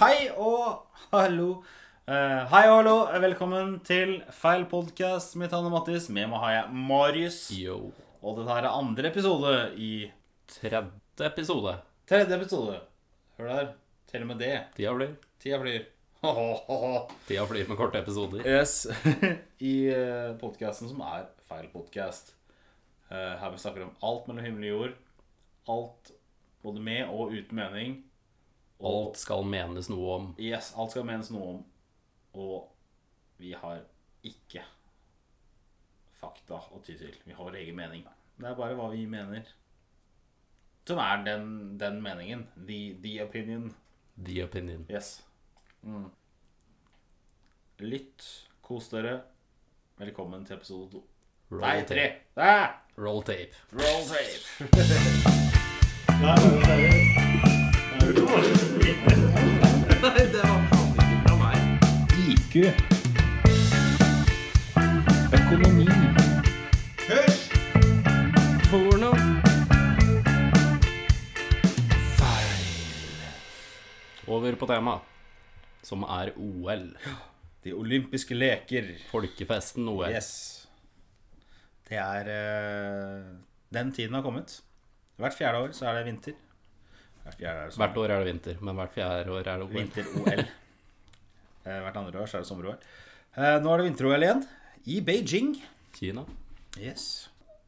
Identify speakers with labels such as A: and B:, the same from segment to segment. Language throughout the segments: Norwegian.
A: Hei og hallo. Eh, hei og hallo. Velkommen til Feil podkast. Mitt navn er Mattis. Med meg har jeg Marius.
B: Yo.
A: Og dette her er andre episode i
B: 30. episode.
A: tredje episode. Hør der. Til og med det.
B: Tida flyr.
A: Tida flyr. Ho-ho-ho-ho.
B: Tida flyr med korte episoder.
A: Yes. I uh, podkasten som er Feil podkast. her vi snakker om alt mellom himmel og jord. Alt både med og uten mening.
B: Alt skal menes noe om.
A: Yes, alt skal menes noe om. Og vi har ikke fakta å ty til. Vi har vår egen mening. Det er bare hva vi mener. Som er den, den meningen. The, the opinion.
B: The opinion.
A: Yes. Mm. Lytt. Kos dere. Velkommen til episode to.
B: Roll
A: Nei, tre!
B: tape.
A: Ah!
B: Roll tape.
A: Roll tape.
B: det var ikke fra meg.
A: IQ. Økonomi.
B: Porno. Over på tema, som er OL.
A: De olympiske leker.
B: Folkefesten OL.
A: Yes. Det er eh, Den tiden har kommet. Hvert fjerde år så er det vinter. Hvert fjerde er det sommer.
B: Hvert år er det vinter, men hvert fjerde år er det OL.
A: Vinter-OL. Eh, hvert andre år så er det sommer-OL. Eh, nå er det vinter-OL igjen. I Beijing.
B: Kina.
A: Yes.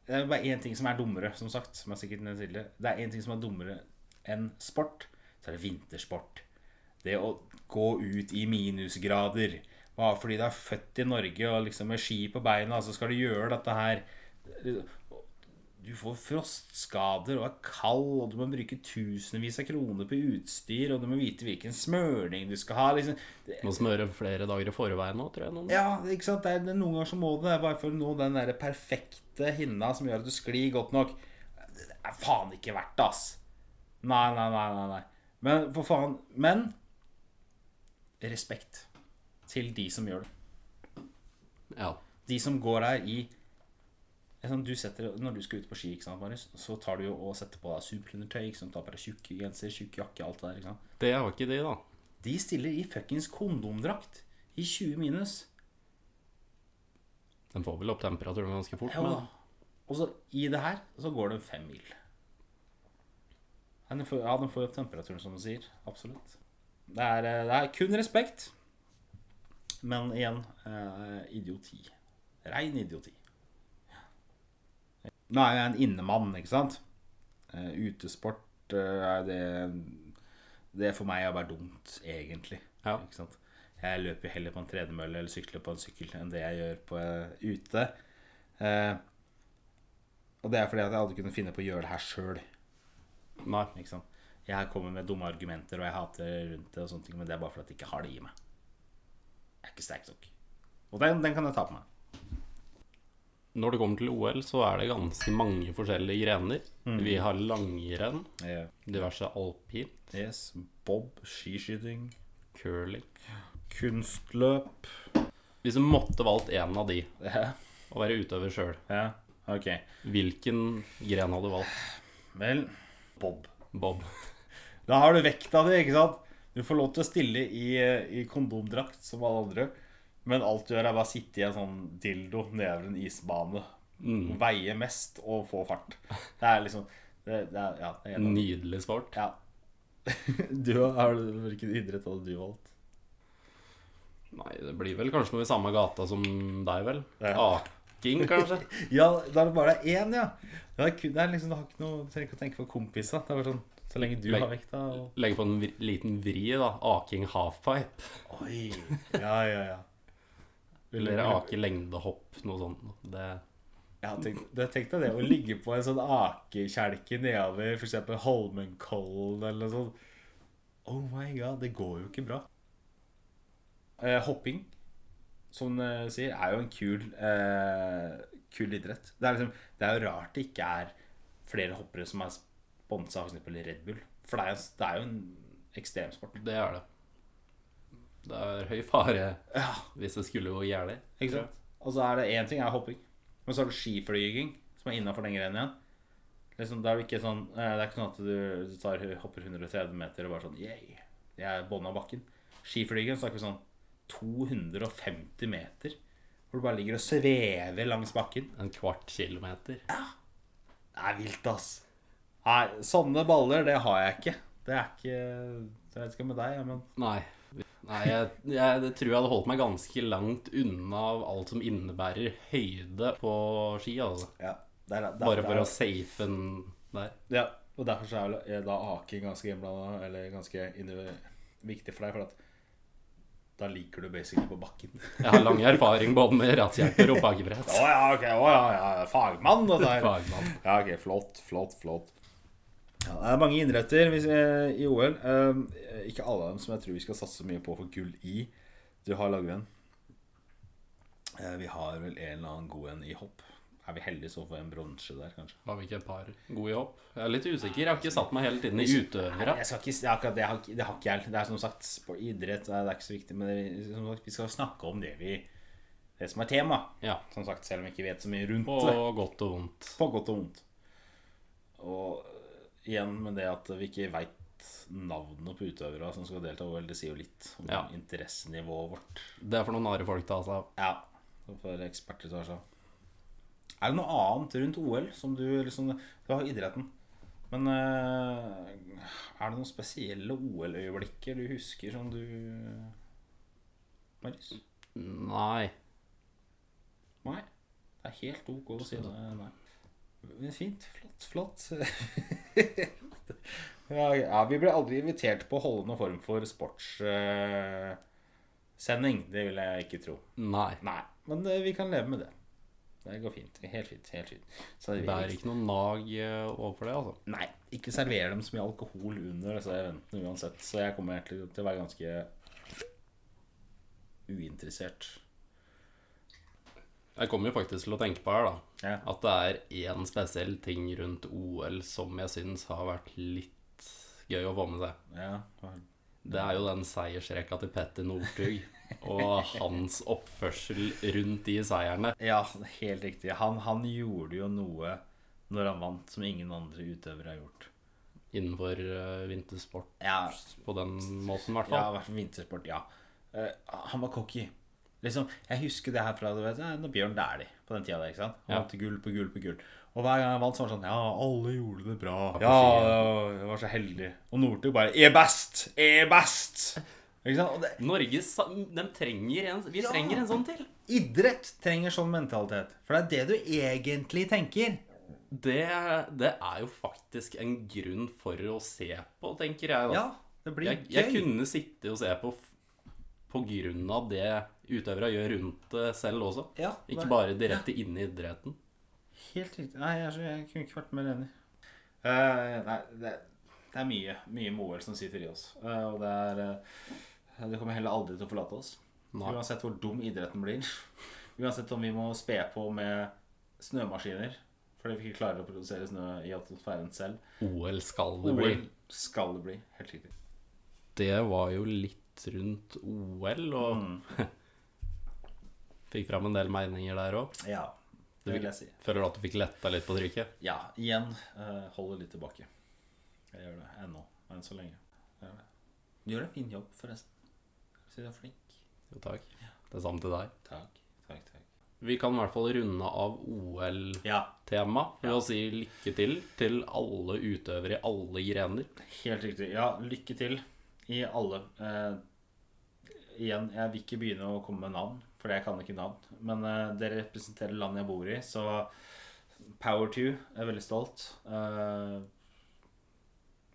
A: Det er bare én ting som er dummere, som sagt. Som jeg sikkert nevnte tidligere. Det er én ting som er dummere enn sport, så er det vintersport. Det å gå ut i minusgrader. Bare fordi du er født i Norge og liksom med ski på beina, så skal du gjøre dette her. Du får frostskader og er kald, og du må bruke tusenvis av kroner på utstyr, og du må vite hvilken smøring du skal ha. liksom... Det-
B: Må smøre flere dager i forveien nå, tror jeg. Noen.
A: ja, ikke sant? Det er, det er noen ganger så må du det, bare for å nå den der perfekte hinna som gjør at du sklir godt nok. Det er faen ikke verdt det, ass. Nei, nei, nei, nei, nei. Men for faen Men respekt til de som gjør det.
B: Ja.
A: De som går her i det er sånn, du setter, Når du skal ut på ski, ikke sant, Marius, så tar du jo og setter på deg superundertøy, ikke sant, tar på deg tjukk genser, tjukk jakke, alt det der. ikke sant?
B: Det har ikke de, da.
A: De stiller i fuckings kondomdrakt i 20 minus.
B: Den får vel opp temperaturen ganske fort.
A: Ja.
B: Men
A: Og så i det her så går det fem mil. Ja, den får, ja, den får opp temperaturen, som du sier. Absolutt. Det er, eh, det er kun respekt. Men igjen eh, idioti. Rein idioti. Nå er jeg en innemann, ikke sant? Eh, utesport eh, er det Det for meg er bare dumt, egentlig.
B: Ja.
A: Ikke sant? Jeg løper jo heller på en tredemølle eller sykler på en sykkel enn det jeg gjør på, eh, ute. Eh, og det er fordi at jeg aldri kunne finne på å gjøre det her sjøl.
B: nei.
A: Jeg kommer med dumme argumenter, og jeg hater rundt det, og sånne ting, men det er bare fordi at jeg ikke har det i meg. Jeg er ikke sterk nok. Og den, den kan jeg ta på meg.
B: Når det kommer til OL, så er det ganske mange forskjellige grener.
A: Mm.
B: Vi har langrenn,
A: Eh,
B: diverse alpin,
A: Yes. Bob, skiskyting,
B: curling
A: kunstløp
B: Hvis du måtte valgt én av de
A: Ja,
B: og være utøver sjøl,
A: ja, ok.
B: hvilken gren hadde du valgt?
A: Vel, Bob.
B: Bob.
A: Da har du vekta di, ikke sant? Du får lov til å stille i, eh, i kondomdrakt som alle andre. Men alt du gjør, er bare å sitte i en sånn dildo nedover en isbane. Veie mest og få fart. Det er liksom det, det er, Ja. Det er helt-
B: Nydelig sport.
A: ja. Mm. Du, har du hvilken idrett hadde du valgt?
B: Nei, det blir vel kanskje noe i samme gata som deg, vel?
A: Ja.
B: Aking, kanskje?
A: Ja, da er det bare én, ja. Det er, kun- det er liksom, Du har ikke noe, du trenger ikke å tenke på kompiser. Det er bare sånn, Så lenge du
B: Nei.
A: har vekta. Og...
B: Legge på en vri, liten vri, da. Aking halfpipe.
A: Oi. Ja, ja, ja.
B: Eller ake lengdehopp, noe sånt. Det
A: Ja, tenk, da tenkte jeg det å ligge på en sånn akekjelke nedover f.eks. Holmenkollen eller noe sånt. Oh my god, det går jo ikke bra. Eh, hopping, som du sier, er jo en kul, eh, kul idrett. Det er, liksom, det er jo rart det ikke er flere hoppere som er sponsa av f.eks. Red Bull. For det er, jo- det er jo en ekstremsport.
B: Det er det. Det er høy fare
A: Ja,
B: hvis det skulle gå gærent.
A: Ikke sant? Og så er det én ting er hopping, men så er det skiflyging, som er innafor den greia igjen. Liksom, det, er jo ikke sånn, eh, det er ikke sånn at du, du tar, hopper 130 meter og bare sånn yeah. jeg er bånn av bakken. Skiflygeren snakker vi sånn 250 meter. Hvor du bare ligger og svever langs bakken.
B: En kvart kilometer.
A: Det er vilt, ass. Nei, sånne baller, det har jeg ikke. Det er ikke Jeg vet ikke med deg, ja, men
B: Nei. Nei, jeg, jeg det tror jeg hadde holdt meg ganske langt unna av alt som innebærer høyde på ski, altså.
A: ja, det er, det er,
B: Bare for å safe en der.
A: Ja, og derfor så er vel- er da aking ganske innblanda, eller ganske indiv- viktig for deg, for at da liker du basically på bakken.
B: Jeg har lang erfaring både med rattkjerker og bakkebrett.
A: Å ja, ok, å ja, ja, fagmann, det der.
B: Fagmann.
A: Ja, ok, flott, flott, flott. Ja, det er mange idretter hvis, eh, i OL. Eh, ikke alle av dem som jeg tror vi skal satse mye på for gull i. Du har langrenn. Eh, vi har vel en eller annen god en i hopp. Er vi heldige så får vi en bronse der, kanskje?
B: Har vi ikke et par gode i hopp? Jeg er litt usikker. Jeg har ikke satt meg helt inn i
A: Nei,
B: utøvere.
A: Jeg skal ikke, det, er akkurat, det, har, ikke- det har ikke jeg. Det er som sagt på idrett, det er det er ikke så viktig. Men det, som sagt, vi skal snakke om det, vi, det som er tema.
B: Ja.
A: Som sagt, selv om vi ikke vet så mye rundt
B: På
A: det.
B: godt og vondt.
A: På godt og vondt. Og øh, igjen med det at vi ikke veit navnet på utøverne som skal delta i OL, det sier jo litt om
B: Ja.
A: interessenivået vårt.
B: Det er for noen rare folk altså. ta seg av.
A: Ja. og For eksperter tar seg av. Er det noe annet rundt OL som du liksom Du har idretten. Men eh, er det noen spesielle OL-øyeblikker du husker som du Marius?
B: Nei.
A: Nei. Det er helt OK å si det. Nei. Men fint. Flott, flott. ja, ja, vi ble aldri invitert på å holde noen form for sportssending. det vil jeg ikke tro.
B: Nei.
A: Nei, men eh, vi kan leve med det. Det går fint. Helt fint. helt fint. Så det
B: Det er ikke noe nag eh, overfor det, altså.
A: Nei, ikke server dem så mye alkohol under disse eventene uansett. Så jeg kommer egentlig til å være ganske uinteressert.
B: Jeg kommer jo faktisk til å tenke på her, da.
A: Ja.
B: At det er én spesiell ting rundt OL som jeg syns har vært litt gøy å få med seg.
A: Ja,
B: Det er jo den seiersrekka til Petter Northug og hans oppførsel rundt de seierne.
A: ja helt riktig. Han, han gjorde jo noe når han vant, som ingen andre utøvere har gjort.
B: Innenfor eh, vintersport
A: Ja,
B: på den måten, i hvert
A: Ja,
B: fall.
A: i hvert fall vintersport, ja. Eh, han var cocky. Liksom, jeg husker det her fra du vet, eh, når Bjørn Dæhlie på den tida der. ikke sant? Han
B: Ja.
A: vant gull på gull på gull. Og hver gang han vant, så var han sånn Ja, alle gjorde det bra. Ja, jeg var så heldig. Og Northug bare Er best! Er best! Ikke sant? Og det,
B: Norge sa- de trenger en, vi
A: Ja.
B: trenger en sånn til.
A: idrett trenger sånn mentalitet. For det er det du egentlig tenker.
B: Det, det er jo faktisk en grunn for å se på, tenker jeg. da.
A: Ja, det blir
B: jeg, jeg
A: gøy.
B: kunne sitte og se på f- på grunn av det utøvere gjør rundt det selv også.
A: Ja,
B: Ikke
A: det-
B: bare direkte inne i idretten.
A: Helt riktig. Nei, jeg, er så- jeg kunne ikke vært mer enig. Eh, nei, det, det er mye, mye med OL som sitter i oss. Eh, og det er eh, Det kommer heller aldri til å forlate oss.
B: Nei.
A: Uansett hvor dum idretten blir. Uansett om vi må spe på med snømaskiner fordi vi ikke klarer å produsere snø i atmosfæren selv.
B: OL skal det bli.
A: OL skal det bli. Helt riktig.
B: Det var jo litt rundt OL, og fikk fram en del meninger der òg.
A: Ja. Det vil jeg si.
B: Føler du at du fikk letta litt på trykket?
A: Ja, igjen eh, holder litt tilbake. Jeg gjør det ennå. Enn så lenge. Jeg Gjør det. Du gjør en fin jobb, forresten. Så du er flink.
B: Jo, takk. Det samme til deg.
A: Takk, takk, takk.
B: Vi kan i hvert fall runde av OL-temaet
A: Ja,
B: ved å si lykke til til alle utøvere i alle grener.
A: helt riktig. Ja, lykke til i alle. Eh, igjen, jeg vil ikke begynne å komme med navn, for jeg kan ikke navn. Men eh, dere representerer landet jeg bor i, så power to. Jeg er veldig stolt. Eh,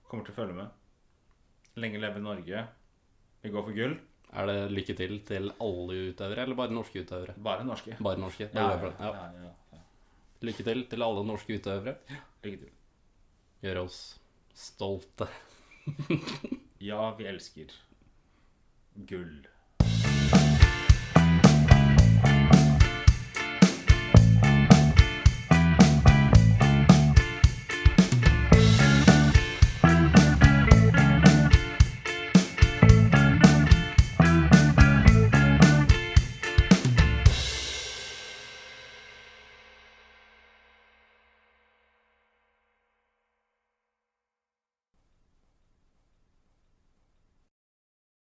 A: kommer til å følge med. Lenge leve Norge. Vi går for gull.
B: Er det lykke til til alle utøvere, eller bare norske utøvere?
A: Bare norske.
B: Bare norske.
A: Ja,
B: da går jeg for det.
A: ja,
B: Ja.
A: ja, ja.
B: Lykke til til alle norske utøvere.
A: Lykke til.
B: Gjør oss stolte.
A: Ja, vi elsker gull.